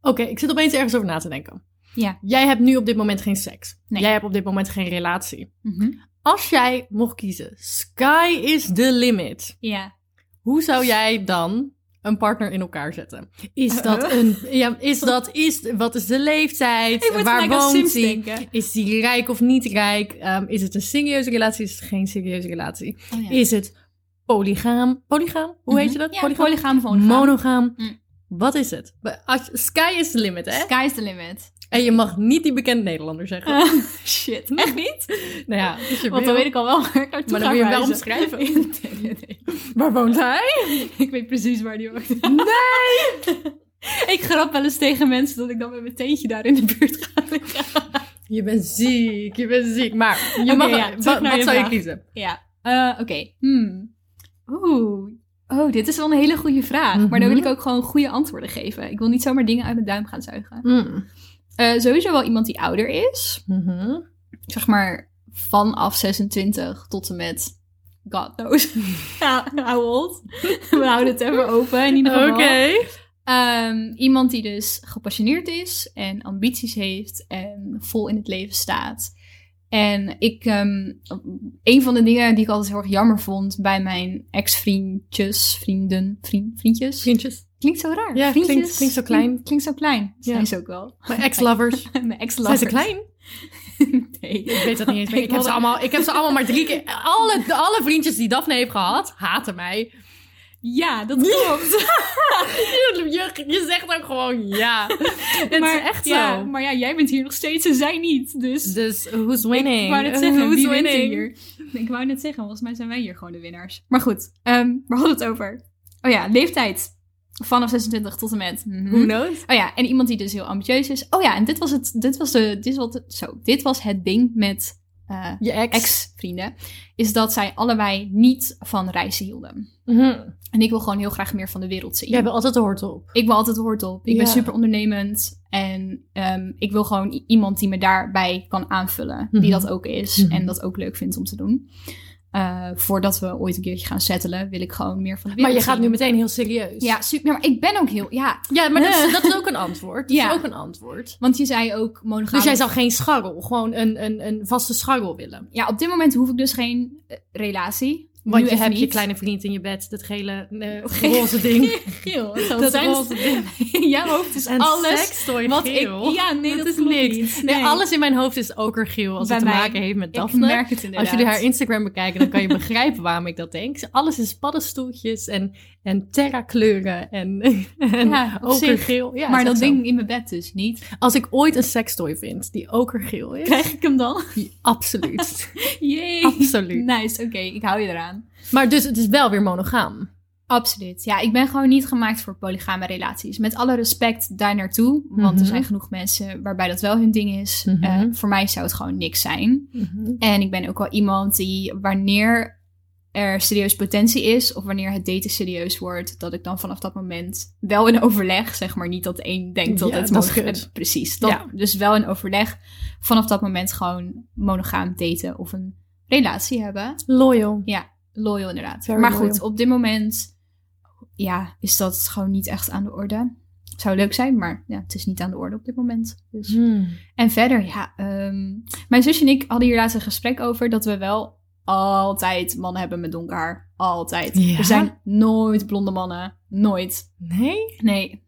Speaker 2: Oké, ik zit opeens ergens over na te denken.
Speaker 3: Ja.
Speaker 2: Jij hebt nu op dit moment geen seks.
Speaker 3: Nee.
Speaker 2: Jij hebt op dit moment geen relatie.
Speaker 3: Mhm.
Speaker 2: Als jij mocht kiezen, sky is the limit.
Speaker 3: Ja.
Speaker 2: Hoe zou jij dan een partner in elkaar zetten? Is dat
Speaker 3: Uh-uh.
Speaker 2: een... Ja, is dat... Is, wat is de leeftijd? Waar woont hij?
Speaker 3: denken.
Speaker 2: Is die rijk of niet rijk? Ehm, is het een serieuze relatie? Is het geen serieuze relatie?
Speaker 3: Oh, ja. Mhm.
Speaker 2: Is het polygaam? Polygaam? Hoe heet je dat?
Speaker 3: Ja, polygaam, monogaam.
Speaker 2: Monogaam.
Speaker 3: Mm.
Speaker 2: Wat is het? Be- als- Sky is the limit, hè?
Speaker 3: Sky's the limit.
Speaker 2: En je mag niet die bekende Nederlander zeggen.
Speaker 3: Oh, shit, echt niet?
Speaker 2: nou ja, als je
Speaker 3: Want dan
Speaker 2: wil.
Speaker 3: weet ik al wel waar ik naartoe
Speaker 2: Hm? Maar dan
Speaker 3: ga
Speaker 2: moet je hem wel omschrijven.
Speaker 3: verhuizen. nee, nee, nee.
Speaker 2: Waar woont hij?
Speaker 3: Ik weet precies waar die woont. Nee! ik grap wel eens tegen mensen dat ik dan met mijn teentje daar in de buurt ga liggen.
Speaker 2: Je bent ziek, je bent ziek. Maar je
Speaker 3: Oké,
Speaker 2: mag,
Speaker 3: ja,
Speaker 2: wa-
Speaker 3: terug
Speaker 2: wat
Speaker 3: naar je
Speaker 2: zou je
Speaker 3: vraag.
Speaker 2: kiezen?
Speaker 3: Ja, eh, oké. Hmm. Oeh. Oh, dit is wel een hele goede vraag. Maar dan wil ik ook gewoon goede antwoorden geven. Ik wil niet zomaar dingen uit mijn duim gaan zuigen. Eh, sowieso wel iemand die ouder is.
Speaker 2: Mhm.
Speaker 3: Zeg maar vanaf 26 tot en met... God knows. Ja, how old? We houden het even open in ieder
Speaker 2: Oké.
Speaker 3: geval. Ehm, iemand die dus gepassioneerd is en ambities heeft en vol in het leven staat. En ik, ehm, een van de dingen die ik altijd heel erg jammer vond bij mijn ex-vriendjes, vrienden, vriend, vriendjes.
Speaker 2: Vriendjes.
Speaker 3: Klinkt zo raar.
Speaker 2: Ja,
Speaker 3: Vriendjes.
Speaker 2: klinkt- klinkt zo klein.
Speaker 3: Klinkt, klinkt zo klein.
Speaker 2: Ja.
Speaker 3: Zijn ze ook wel.
Speaker 2: Mijn ex-lovers.
Speaker 3: mijn ex
Speaker 2: Zijn ze klein?
Speaker 3: nee.
Speaker 2: Ik weet dat niet eens meer. Ik heb
Speaker 3: Ik
Speaker 2: ze
Speaker 3: wilde-
Speaker 2: allemaal, ik heb ze allemaal maar drie keer... Alle, alle vriendjes die Daphne heeft gehad, haten mij.
Speaker 3: Ja, dat klopt.
Speaker 2: Je, je- je zegt ook gewoon ja. Het
Speaker 3: maar
Speaker 2: is echt
Speaker 3: ja,
Speaker 2: zo.
Speaker 3: Maar ja, jij bent hier nog steeds en zij niet. Dus
Speaker 2: Dus who's winning?
Speaker 3: Ik wou net zeggen,
Speaker 2: who's
Speaker 3: wie wint
Speaker 2: winning?
Speaker 3: hier? Ik wou net zeggen, volgens mij zijn wij hier gewoon de winnaars. Maar goed, ehm waar hadden we het over? Oh ja, leeftijd. Vanaf 26 tot en met. mhm.
Speaker 2: Who knows?
Speaker 3: Oh ja, en iemand die dus heel ambitieus is. Oh ja, en dit was het, dit was de, dit was het, zo, dit was het ding met eh,
Speaker 2: Je ex.
Speaker 3: ex-vrienden. Is dat zij allebei niet van reizen hielden.
Speaker 2: Mhm.
Speaker 3: En ik wil gewoon heel graag meer van de wereld zien.
Speaker 2: Jij bent altijd de hortel.
Speaker 3: Ik wil altijd hortop. Ik
Speaker 2: Ja.
Speaker 3: ben super ondernemend. En ehm, ik wil gewoon i- iemand die me daarbij kan aanvullen.
Speaker 2: Mhm.
Speaker 3: Die dat ook is.
Speaker 2: Mhm.
Speaker 3: En dat ook leuk vindt om te doen. Eh, voordat we ooit een keertje gaan settelen, wil ik gewoon meer van de
Speaker 2: Maar je
Speaker 3: wereld
Speaker 2: gaat
Speaker 3: zien.
Speaker 2: nu meteen heel serieus.
Speaker 3: Ja, super. Maar ik ben ook heel... Ja,
Speaker 2: Ja, maar dat is,
Speaker 3: Eh.
Speaker 2: dat is ook een antwoord. Dat
Speaker 3: Ja.
Speaker 2: is ook een antwoord.
Speaker 3: want je zei ook monogaam.
Speaker 2: Dus jij zou geen scharrel, gewoon een, een, een vaste scharrel willen.
Speaker 3: Ja, op dit moment hoef ik dus geen eh, relatie.
Speaker 2: Want
Speaker 3: nu
Speaker 2: je
Speaker 3: even
Speaker 2: hebt je
Speaker 3: niet.
Speaker 2: kleine vriend in je bed, dat gele eh, roze ding.
Speaker 3: Geel.
Speaker 2: Dat
Speaker 3: Dat
Speaker 2: roze
Speaker 3: In jouw hoofd is
Speaker 2: En
Speaker 3: alles
Speaker 2: seks door je
Speaker 3: wat
Speaker 2: geel.
Speaker 3: ik... Ja, nee,
Speaker 2: Dat
Speaker 3: dat,
Speaker 2: is
Speaker 3: klopt
Speaker 2: niks.
Speaker 3: niet.
Speaker 2: Nee,
Speaker 3: Nee.
Speaker 2: alles in mijn hoofd is okergeel als
Speaker 3: Bij
Speaker 2: het te
Speaker 3: mij.
Speaker 2: maken heeft met
Speaker 3: Ik
Speaker 2: Daphne.
Speaker 3: merk het inderdaad.
Speaker 2: Als jullie haar Instagram bekijken, dan kan je begrijpen waarom ik dat denk. Alles is paddenstoeltjes en, en terrakleuren en, en
Speaker 3: Ja, op zich.
Speaker 2: okergeel. Ja,
Speaker 3: maar
Speaker 2: is
Speaker 3: dat
Speaker 2: echt zo.
Speaker 3: ding in mijn bed dus niet.
Speaker 2: Als ik ooit een sextoy vind die okergeel is,
Speaker 3: Krijg ik hem dan?
Speaker 2: absoluut.
Speaker 3: Jee.
Speaker 2: absoluut.
Speaker 3: Nice, oké, ik hou je eraan.
Speaker 2: Maar dus het is wel weer monogaam.
Speaker 3: Absoluut. Ja, ik ben gewoon niet gemaakt voor polygame relaties. Met alle respect daar naartoe, want
Speaker 2: Mhm.
Speaker 3: er zijn genoeg mensen waarbij dat wel hun ding is.
Speaker 2: Mhm.
Speaker 3: Eh, voor mij zou het gewoon niks zijn. En ik ben ook wel iemand die wanneer er serieus potentie is of wanneer het daten serieus wordt, dat ik dan vanaf dat moment wel in overleg, zeg maar niet dat de een denkt dat
Speaker 2: Ja,
Speaker 3: het
Speaker 2: dat is
Speaker 3: mono-
Speaker 2: kut.
Speaker 3: eh, precies. Dat,
Speaker 2: Ja.
Speaker 3: Dus wel in overleg vanaf dat moment gewoon monogaam daten of een relatie hebben.
Speaker 2: Loyal.
Speaker 3: Loyal inderdaad.
Speaker 2: Very
Speaker 3: maar
Speaker 2: loyal.
Speaker 3: goed, op dit moment ja, is dat gewoon niet echt aan de orde. Zou leuk zijn, maar ja, het is niet aan de orde op dit moment. Dus.
Speaker 2: Hm. Hmm.
Speaker 3: En verder, ja, ehm, mijn zusje en ik hadden hier laatst een gesprek over dat we wel altijd mannen hebben met donker haar. Altijd.
Speaker 2: Ja?
Speaker 3: Er zijn nooit blonde mannen. Nooit.
Speaker 2: Nee?
Speaker 3: Nee.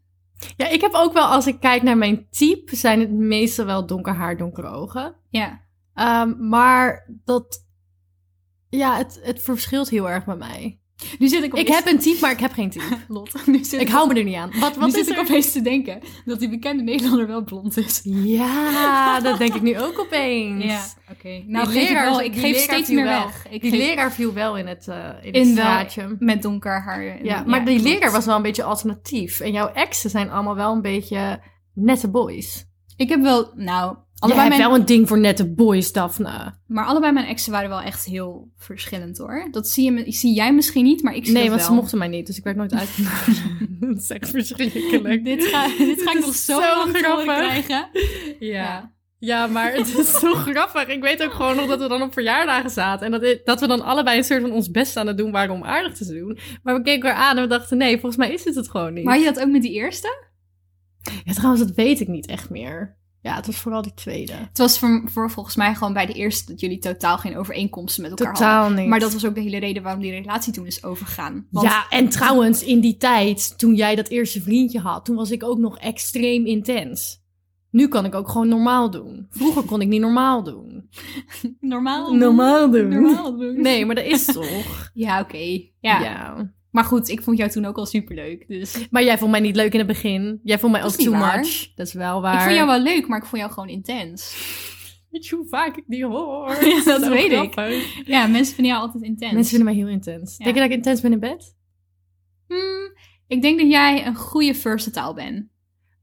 Speaker 2: Ja, ik heb ook wel, als ik kijk naar mijn type, zijn het meestal wel donker haar, donkere ogen.
Speaker 3: Ja.
Speaker 2: Ehm, maar dat, ja, het, het verschilt heel erg bij mij.
Speaker 3: Nu zit ik
Speaker 2: Ik
Speaker 3: opeens-
Speaker 2: heb een type, maar ik heb geen type.
Speaker 3: Lot. Nu zit
Speaker 2: Ik hou me er niet aan. Wat,
Speaker 3: nu
Speaker 2: wat
Speaker 3: zit
Speaker 2: is
Speaker 3: ik
Speaker 2: er?
Speaker 3: opeens te denken dat die bekende Nederlander wel blond is.
Speaker 2: Ja, dat denk ik nu ook opeens.
Speaker 3: oké. Nou,
Speaker 2: Die
Speaker 3: geef ik,
Speaker 2: leraar-
Speaker 3: wel, ik
Speaker 2: die
Speaker 3: geef
Speaker 2: leraar
Speaker 3: steeds
Speaker 2: viel
Speaker 3: meer
Speaker 2: wel.
Speaker 3: weg. Ik
Speaker 2: die
Speaker 3: geef-
Speaker 2: leraar viel wel in het, eh in het
Speaker 3: in wel,
Speaker 2: straatje.
Speaker 3: met donker haar. En-
Speaker 2: Ja, maar die
Speaker 3: klopt.
Speaker 2: leraar was wel een beetje alternatief. En jouw exen zijn allemaal wel een beetje nette boys.
Speaker 3: Ik heb wel, nou,
Speaker 2: Je
Speaker 3: allebei
Speaker 2: hebt
Speaker 3: mijn,
Speaker 2: wel een ding voor nette boys, Daphne.
Speaker 3: maar allebei mijn exen waren wel echt heel verschillend hoor. Dat zie, je, zie jij misschien niet, maar ik zie
Speaker 2: Nee,
Speaker 3: dat
Speaker 2: want
Speaker 3: wel.
Speaker 2: ze mochten mij niet, dus ik werd nooit uitgenodigd. dat is echt verschrikkelijk.
Speaker 3: Dit ga, dit ga ik
Speaker 2: Dit
Speaker 3: nog
Speaker 2: is
Speaker 3: zo,
Speaker 2: zo
Speaker 3: lang te horen
Speaker 2: grappig.
Speaker 3: krijgen.
Speaker 2: Ja. ja, maar het is zo grappig. Ik weet ook gewoon nog dat we dan op verjaardagen zaten. En dat, dat we dan allebei een soort van ons best aan het doen waren om aardig te doen. Maar we keken elkaar aan en we dachten, nee, volgens mij is dit het gewoon niet.
Speaker 3: Maar had je dat ook met die eerste?
Speaker 2: Ja, trouwens, dat weet ik niet echt meer. Ja, het was vooral die tweede.
Speaker 3: Het was voor, voor volgens mij gewoon bij de eerste dat jullie totaal geen overeenkomsten met elkaar hadden.
Speaker 2: Totaal niet.
Speaker 3: Maar dat was ook de hele reden waarom die relatie toen is overgegaan. Want
Speaker 2: ja, en trouwens, in die tijd, toen jij dat eerste vriendje had, toen was ik ook nog extreem intens. Nu kan ik ook gewoon normaal doen. Vroeger kon ik niet normaal doen.
Speaker 3: normaal. Normaal doen.
Speaker 2: Nee, maar dat is toch?
Speaker 3: Ja, oké. Ja.
Speaker 2: ja.
Speaker 3: Maar goed, ik vond jou toen ook al superleuk. Dus
Speaker 2: Maar jij vond mij niet leuk in het begin. Jij vond mij
Speaker 3: Dat
Speaker 2: ook
Speaker 3: is niet
Speaker 2: too
Speaker 3: waar.
Speaker 2: much. Dat is wel waar.
Speaker 3: ik vond jou wel leuk, maar ik vond jou gewoon intens.
Speaker 2: Weet je hoe vaak ik die hoor?
Speaker 3: Ja, dat
Speaker 2: Zo
Speaker 3: weet ik.
Speaker 2: grappig.
Speaker 3: Ja, mensen vinden jou altijd intens.
Speaker 2: Mensen vinden mij heel intens.
Speaker 3: Ja.
Speaker 2: Denk je dat ik intens ben in bed?
Speaker 3: Hmm, ik denk dat jij een goede versatile bent.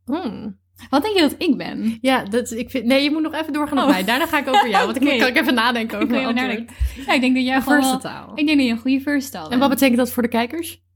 Speaker 2: Hmm.
Speaker 3: Wat denk je dat ik ben?
Speaker 2: Ja, dat, ik vind... Nee, je moet nog even doorgaan op
Speaker 3: Oh.
Speaker 2: mij. Daarna ga ik over jou, want ik
Speaker 3: Oké.
Speaker 2: moet kan ik even nadenken over
Speaker 3: wil
Speaker 2: mijn
Speaker 3: even
Speaker 2: antwoord.
Speaker 3: Ja, ik denk dat jij gewoon wel-
Speaker 2: Versatile.
Speaker 3: Ik denk dat je een goede versatile
Speaker 2: En wat
Speaker 3: bent.
Speaker 2: betekent dat voor de kijkers?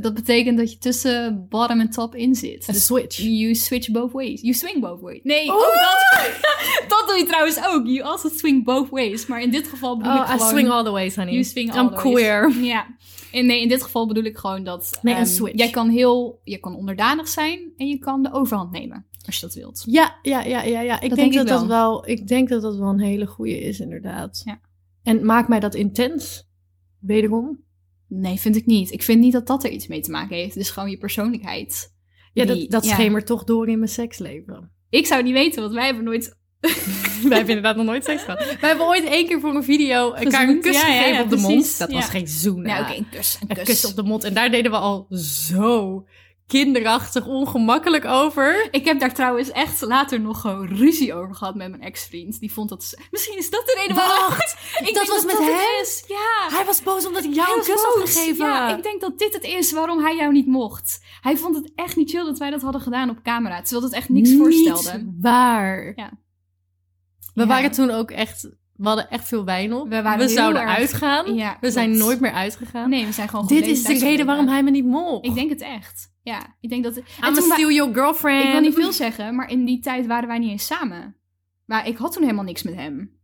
Speaker 3: Dat betekent dat je tussen bottom en top in zit.
Speaker 2: Een
Speaker 3: Dus
Speaker 2: switch.
Speaker 3: you switch both ways. You swing both ways. Nee,
Speaker 2: Oeh!
Speaker 3: ook Oh, dat. dat doe je trouwens ook. You also swing both ways. Maar in dit geval bedoel ik
Speaker 2: Oh, I
Speaker 3: gewoon...
Speaker 2: swing all the ways, honey.
Speaker 3: You swing
Speaker 2: I'm
Speaker 3: all the ways.
Speaker 2: queer.
Speaker 3: Ja. En nee, in dit geval bedoel ik gewoon dat...
Speaker 2: Nee, een
Speaker 3: ehm,
Speaker 2: switch.
Speaker 3: Jij kan heel... Je kan onderdanig zijn en je kan de overhand nemen. Als je dat wilt.
Speaker 2: Ja, ja, ja, ja, ja. Ik
Speaker 3: Dat
Speaker 2: denk,
Speaker 3: denk ik
Speaker 2: dat dat wel. Ik denk dat dat wel een hele goede is, inderdaad.
Speaker 3: Ja.
Speaker 2: En maakt mij dat intens? Wederom?
Speaker 3: Nee, vind ik niet. Ik vind niet dat dat er iets mee te maken heeft. Het is gewoon je persoonlijkheid.
Speaker 2: Ja, dat,
Speaker 3: Die-
Speaker 2: dat
Speaker 3: ja.
Speaker 2: schemert toch door in mijn seksleven.
Speaker 3: Ik zou niet weten, want wij hebben nooit...
Speaker 2: Wij hebben inderdaad nog nooit seks gehad. Wij hebben ooit één keer voor een video elkaar een
Speaker 3: Gezoend?
Speaker 2: kus
Speaker 3: Ja, ja,
Speaker 2: gegeven
Speaker 3: ja,
Speaker 2: op de
Speaker 3: precies.
Speaker 2: mond. Dat was
Speaker 3: Ja.
Speaker 2: geen zoen.
Speaker 3: Nou,
Speaker 2: hè.
Speaker 3: oké, een kus. Een,
Speaker 2: Een
Speaker 3: kus.
Speaker 2: kus op de mond. En daar deden we al zo kinderachtig ongemakkelijk over.
Speaker 3: Ik heb daar trouwens echt later nog gewoon ruzie over gehad met mijn ex-vriend. Die vond dat... Misschien is dat de reden waarom... Ik denk het is. Ja.
Speaker 2: Hij was boos omdat Nou, ik
Speaker 3: Hij
Speaker 2: jou een
Speaker 3: was
Speaker 2: kus had
Speaker 3: boos.
Speaker 2: gegeven.
Speaker 3: Ja, ik denk dat dit het is waarom hij jou niet mocht. Hij vond het echt niet chill dat wij dat hadden gedaan op camera. Terwijl het echt niks voorstelde.
Speaker 2: waar.
Speaker 3: Ja.
Speaker 2: We
Speaker 3: Ja.
Speaker 2: waren toen ook echt... We hadden echt veel wijn op.
Speaker 3: We waren heel
Speaker 2: zouden
Speaker 3: erg-
Speaker 2: uitgaan.
Speaker 3: Ja,
Speaker 2: we
Speaker 3: klopt.
Speaker 2: zijn nooit meer uitgegaan.
Speaker 3: Nee, we zijn gewoon
Speaker 2: Dit
Speaker 3: gebleven
Speaker 2: is de
Speaker 3: thuis
Speaker 2: reden waarom
Speaker 3: gebleven.
Speaker 2: hij me niet mocht.
Speaker 3: Ik denk het echt. Ja, ik denk dat... En
Speaker 2: I'm a
Speaker 3: toen wa-
Speaker 2: steal your girlfriend.
Speaker 3: Ik wil niet veel zeggen, maar in die tijd waren wij niet eens samen. Maar ik had toen helemaal niks met hem.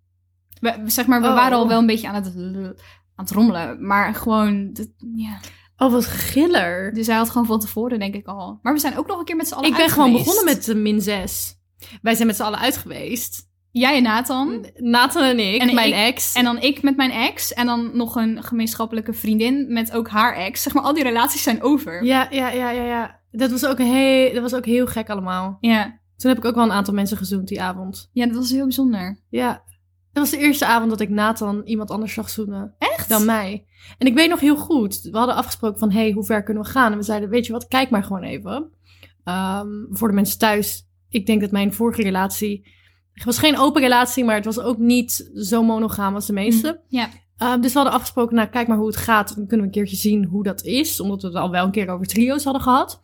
Speaker 3: We, zeg maar, we
Speaker 2: Oh.
Speaker 3: waren al wel een beetje aan het, aan het rommelen. Maar gewoon... dat- ja.
Speaker 2: Oh, wat giller.
Speaker 3: Dus hij had gewoon van tevoren, denk ik al. Maar we zijn ook nog een keer met z'n allen
Speaker 2: Ik ben
Speaker 3: uit
Speaker 2: gewoon
Speaker 3: geweest.
Speaker 2: begonnen met de min 6. Wij zijn met z'n allen uit geweest.
Speaker 3: Jij en
Speaker 2: Mm.
Speaker 3: Nathan.
Speaker 2: Nathan en ik,
Speaker 3: Hm? En
Speaker 2: mijn
Speaker 3: ik-
Speaker 2: ex.
Speaker 3: En dan ik met mijn ex. En dan nog een gemeenschappelijke vriendin met ook haar ex. Zeg maar, al die relaties zijn over.
Speaker 2: Ja, ja, ja, ja, ja. Dat was, ook heel, dat was ook heel gek allemaal.
Speaker 3: Ja,
Speaker 2: Toen heb ik ook wel een aantal mensen gezoend die avond.
Speaker 3: Ja, dat was heel bijzonder.
Speaker 2: Ja. Dat was de eerste avond dat ik Nathan iemand anders zag zoenen
Speaker 3: Echt?
Speaker 2: dan mij. En ik weet nog heel goed, we hadden afgesproken van, hé, hey, hoe ver kunnen we gaan? En we zeiden, weet je wat, kijk maar gewoon even. Ehm, voor de mensen thuis, ik denk dat mijn vorige relatie... Het was geen open relatie, maar het was ook niet zo monogaam als de meeste.
Speaker 3: Ja.
Speaker 2: Ehm, dus we hadden afgesproken, nou, kijk maar hoe het gaat. Dan kunnen we een keertje zien hoe dat is. Omdat we het al wel een keer over trio's hadden gehad.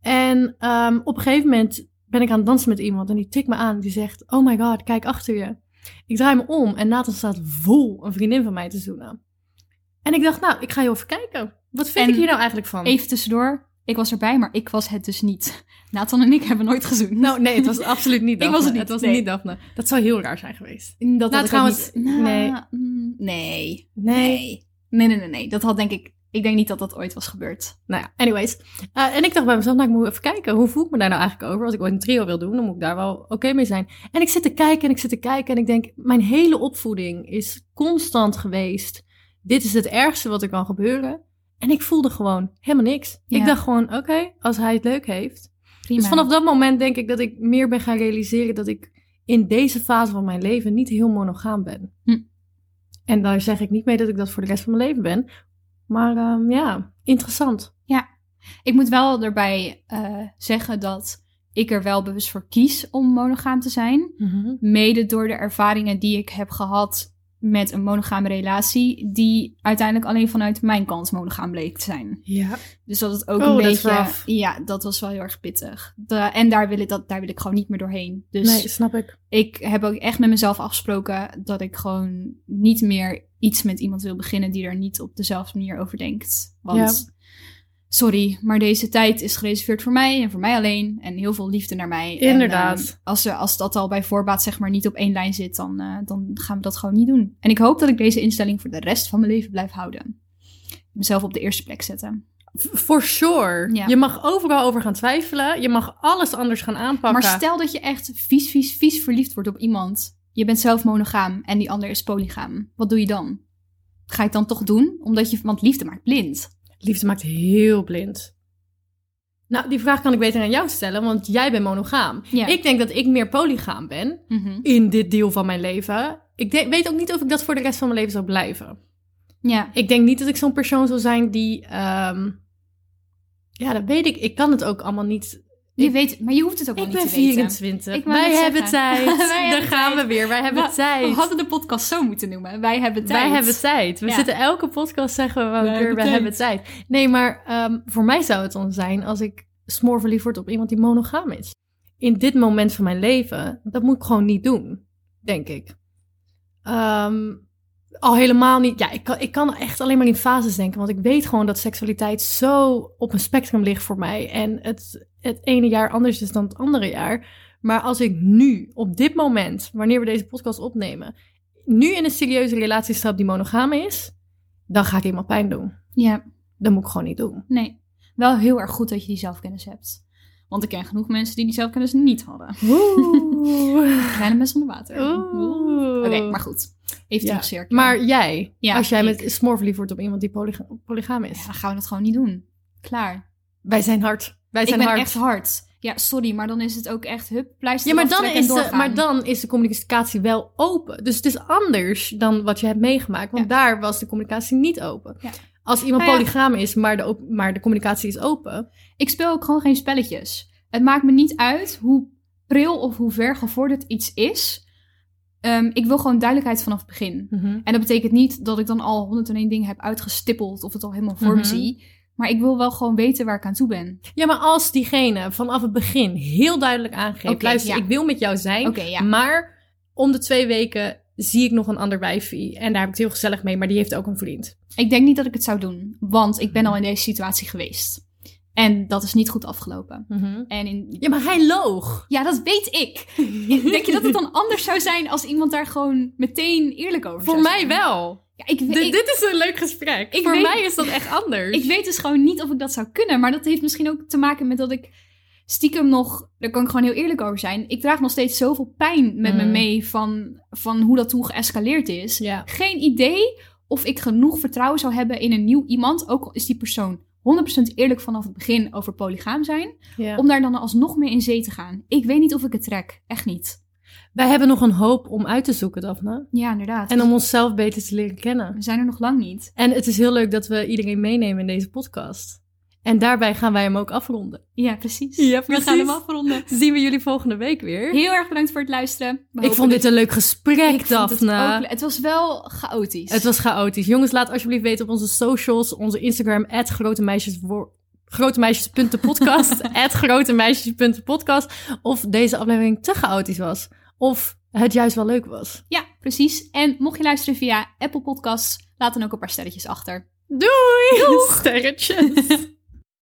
Speaker 2: En ehm, op een gegeven moment ben ik aan het dansen met iemand. En die tikt me aan. Die zegt, oh my god, kijk achter je. Ik draai me om en Nathan staat vol een vriendin van mij te zoenen. En ik dacht, nou, ik ga heel even kijken. Wat vind
Speaker 3: En
Speaker 2: ik hier nou eigenlijk van?
Speaker 3: Even tussendoor. Ik was erbij, maar ik was het dus niet. Nathan en ik hebben nooit gezoend.
Speaker 2: Nou, nee, het was absoluut niet
Speaker 3: Ik
Speaker 2: Daphne.
Speaker 3: was het niet,
Speaker 2: Het was
Speaker 3: nee.
Speaker 2: niet Daphne. Dat zou heel raar zijn geweest.
Speaker 3: dat had ik ook
Speaker 2: trouwens,
Speaker 3: niet. Nou,
Speaker 2: nee.
Speaker 3: mm, nee.
Speaker 2: Nee.
Speaker 3: Nee, nee, nee, nee. Dat had denk ik... Ik denk niet dat dat ooit was gebeurd.
Speaker 2: Nou ja, anyways. Eh, en ik dacht bij mezelf, nou, ik moet even kijken. Hoe voel ik me daar nou eigenlijk over? Als ik ooit een trio wil doen, dan moet ik daar wel oké mee zijn. En ik zit te kijken en ik zit te kijken en ik denk... Mijn hele opvoeding is constant geweest. Dit is het ergste wat er kan gebeuren. En ik voelde gewoon helemaal niks.
Speaker 3: Ja.
Speaker 2: Ik dacht gewoon, oké, als hij het leuk heeft.
Speaker 3: Prima.
Speaker 2: Dus vanaf dat moment denk ik dat ik meer ben gaan realiseren... dat ik in deze fase van mijn leven niet heel monogaam ben.
Speaker 3: Hm.
Speaker 2: En daar zeg ik niet mee dat ik dat voor de rest van mijn leven ben. Maar ehm, ja, interessant.
Speaker 3: Ik moet wel erbij eh, zeggen dat ik er wel bewust voor kies om monogaam te zijn. Mede door de ervaringen die ik heb gehad met een monogame relatie, die uiteindelijk alleen vanuit mijn kant monogaam bleek te zijn.
Speaker 2: Ja.
Speaker 3: Dus dat het ook
Speaker 2: Oh,
Speaker 3: een
Speaker 2: dat is
Speaker 3: beetje.
Speaker 2: rough.
Speaker 3: Ja, dat was wel heel erg pittig. Da- en daar wil, ik, dat, daar wil ik gewoon niet meer doorheen. Dus
Speaker 2: Nee, snap ik.
Speaker 3: ik heb ook echt met mezelf afgesproken dat ik gewoon niet meer iets met iemand wil beginnen die er niet op dezelfde manier over denkt. Want sorry, maar deze tijd is gereserveerd voor mij en voor mij alleen. En heel veel liefde naar mij. En,
Speaker 2: Inderdaad.
Speaker 3: ehm, als, er, als dat al bij voorbaat zeg maar niet op één lijn zit, dan, eh, dan gaan we dat gewoon niet doen. En ik hoop dat ik deze instelling voor de rest van mijn leven blijf houden. Mezelf op de eerste plek zetten.
Speaker 2: F- For sure.
Speaker 3: Ja.
Speaker 2: Je mag overal over gaan twijfelen. Je mag alles anders gaan aanpakken.
Speaker 3: Maar stel dat je echt vies, vies, vies verliefd wordt op iemand. Je bent zelf monogaam en die ander is polygaam. Wat doe je dan? Ga je het dan toch doen? Omdat je, want liefde maakt blind.
Speaker 2: Liefde maakt heel blind. Nou, die vraag kan ik beter aan jou stellen, want jij bent monogaam.
Speaker 3: Ja. Mhm.
Speaker 2: Ik denk dat ik meer polygaam ben in dit deel van mijn leven. Ik de- weet ook niet of ik dat voor de rest van mijn leven zou blijven.
Speaker 3: Ja.
Speaker 2: Ik denk niet dat ik zo'n persoon zou zijn die. ehm, ja, dat weet ik. Ik kan het ook allemaal niet.
Speaker 3: Je
Speaker 2: Ik-
Speaker 3: weet, maar je hoeft het ook wel
Speaker 2: Ik
Speaker 3: niet
Speaker 2: ben
Speaker 3: te weten.
Speaker 2: 24.
Speaker 3: Ik wou
Speaker 2: Wij
Speaker 3: net
Speaker 2: hebben
Speaker 3: zeggen.
Speaker 2: tijd.
Speaker 3: Wij
Speaker 2: Daar
Speaker 3: hebben
Speaker 2: gaan
Speaker 3: tijd.
Speaker 2: we weer. Wij hebben
Speaker 3: Wa-
Speaker 2: tijd.
Speaker 3: We hadden de podcast zo moeten noemen. Wij hebben tijd.
Speaker 2: Wij hebben tijd. We
Speaker 3: Ja.
Speaker 2: zitten elke podcast zeggen we wel
Speaker 3: Wij
Speaker 2: een keer,
Speaker 3: hebben
Speaker 2: we
Speaker 3: tijd.
Speaker 2: hebben tijd. Nee, maar ehm, voor mij zou het dan zijn als ik smoorverliefd word op iemand die monogaam is. In dit moment van mijn leven, dat moet ik gewoon niet doen, denk ik. Ehm, al helemaal niet. Ja, ik kan, ik kan echt alleen maar in fases denken. Want ik weet gewoon dat seksualiteit zo op een spectrum ligt voor mij. En het, het ene jaar anders is dan het andere jaar. Maar als ik nu, op dit moment, wanneer we deze podcast opnemen, nu in een serieuze relatie stap die monogaam is, dan ga ik iemand pijn doen.
Speaker 3: Ja,
Speaker 2: Dat moet ik gewoon niet doen.
Speaker 3: nee. Wel heel erg goed dat je die zelfkennis hebt. Want ik ken genoeg mensen die die zelfkennis niet hadden.
Speaker 2: Oeh.
Speaker 3: Kleine mes onder water.
Speaker 2: Oeh.
Speaker 3: Oké, maar goed. Even
Speaker 2: Ja.
Speaker 3: terugcirkelen.
Speaker 2: Maar jij,
Speaker 3: Ja,
Speaker 2: als jij
Speaker 3: ik.
Speaker 2: met smoor verliefd wordt op iemand die polyga- polygaam is.
Speaker 3: Ja, dan gaan we dat gewoon niet doen. Klaar.
Speaker 2: Wij zijn hard. Wij zijn
Speaker 3: ik ben
Speaker 2: hard.
Speaker 3: echt hard. Ja, sorry, maar dan is het ook echt hup, pleister
Speaker 2: Ja, maar dan,
Speaker 3: aftrekken
Speaker 2: is
Speaker 3: en
Speaker 2: de,
Speaker 3: doorgaan.
Speaker 2: maar dan is de communicatie wel open. Dus het is anders dan wat je hebt meegemaakt. Want
Speaker 3: Ja.
Speaker 2: daar was de communicatie niet open.
Speaker 3: Ja.
Speaker 2: Als iemand
Speaker 3: Nou ja.
Speaker 2: polygaam is, maar de, op- maar de communicatie is open.
Speaker 3: Ik speel ook gewoon geen spelletjes. Het maakt me niet uit hoe pril of hoe ver gevorderd iets is. Ehm, ik wil gewoon duidelijkheid vanaf het begin. En dat betekent niet dat ik dan al 101 dingen heb uitgestippeld of het al helemaal voor
Speaker 2: Mhm.
Speaker 3: me zie. Maar ik wil wel gewoon weten waar ik aan toe ben.
Speaker 2: Ja, maar als diegene vanaf het begin heel duidelijk aangeeft...
Speaker 3: Oké,
Speaker 2: luister,
Speaker 3: ja.
Speaker 2: ik wil met jou zijn,
Speaker 3: Oké, ja.
Speaker 2: maar om de twee weken zie ik nog een ander wijfie. En daar heb ik het heel gezellig mee, maar die heeft ook een vriend.
Speaker 3: Ik denk niet dat ik het zou doen, want ik ben al in deze situatie geweest. En dat is niet goed afgelopen. En in...
Speaker 2: Ja, maar hij loog.
Speaker 3: Ja, dat weet ik. Denk je dat het dan anders zou zijn als iemand daar gewoon meteen eerlijk over
Speaker 2: Voor
Speaker 3: zou
Speaker 2: mij
Speaker 3: zijn?
Speaker 2: wel.
Speaker 3: Ja, ik,
Speaker 2: D-
Speaker 3: we- ik,
Speaker 2: dit is een leuk gesprek.
Speaker 3: Ik
Speaker 2: Voor
Speaker 3: weet-
Speaker 2: mij is dat echt anders.
Speaker 3: ik weet dus gewoon niet of ik dat zou kunnen. Maar dat heeft misschien ook te maken met dat ik stiekem nog... Daar kan ik gewoon heel eerlijk over zijn. Ik draag nog steeds zoveel pijn met me
Speaker 2: Mm.
Speaker 3: mee van, van hoe dat toen geëscaleerd is.
Speaker 2: Ja.
Speaker 3: Geen idee of ik genoeg vertrouwen zou hebben in een nieuw iemand. Ook al is die persoon 100% eerlijk vanaf het begin over polygaam zijn.
Speaker 2: Ja.
Speaker 3: Om daar dan alsnog mee in zee te gaan. Ik weet niet of ik het trek. Echt niet.
Speaker 2: Wij hebben nog een hoop om uit te zoeken, Daphne.
Speaker 3: Ja, inderdaad.
Speaker 2: En om onszelf beter te leren kennen.
Speaker 3: We zijn er nog lang niet.
Speaker 2: En het is heel leuk dat we iedereen meenemen in deze podcast. En daarbij gaan wij hem ook afronden.
Speaker 3: Ja, precies.
Speaker 2: Ja, precies.
Speaker 3: We gaan hem afronden.
Speaker 2: Zien we jullie volgende week weer.
Speaker 3: Heel erg bedankt voor het luisteren. We
Speaker 2: ik
Speaker 3: hopen
Speaker 2: vond dit
Speaker 3: dat-
Speaker 2: een leuk gesprek,
Speaker 3: Ik vond het
Speaker 2: Daphne.
Speaker 3: ook le- het was wel chaotisch.
Speaker 2: Het was chaotisch. Jongens, laat alsjeblieft weten op onze socials. Onze Instagram, at grotemeisjes.podcast. at grotemeisjes.podcast. Of deze aflevering te chaotisch was. Of het juist wel leuk was.
Speaker 3: Ja, precies. En mocht je luisteren via Apple Podcasts, laat dan ook een paar sterretjes achter.
Speaker 2: Doei! Sterretjes.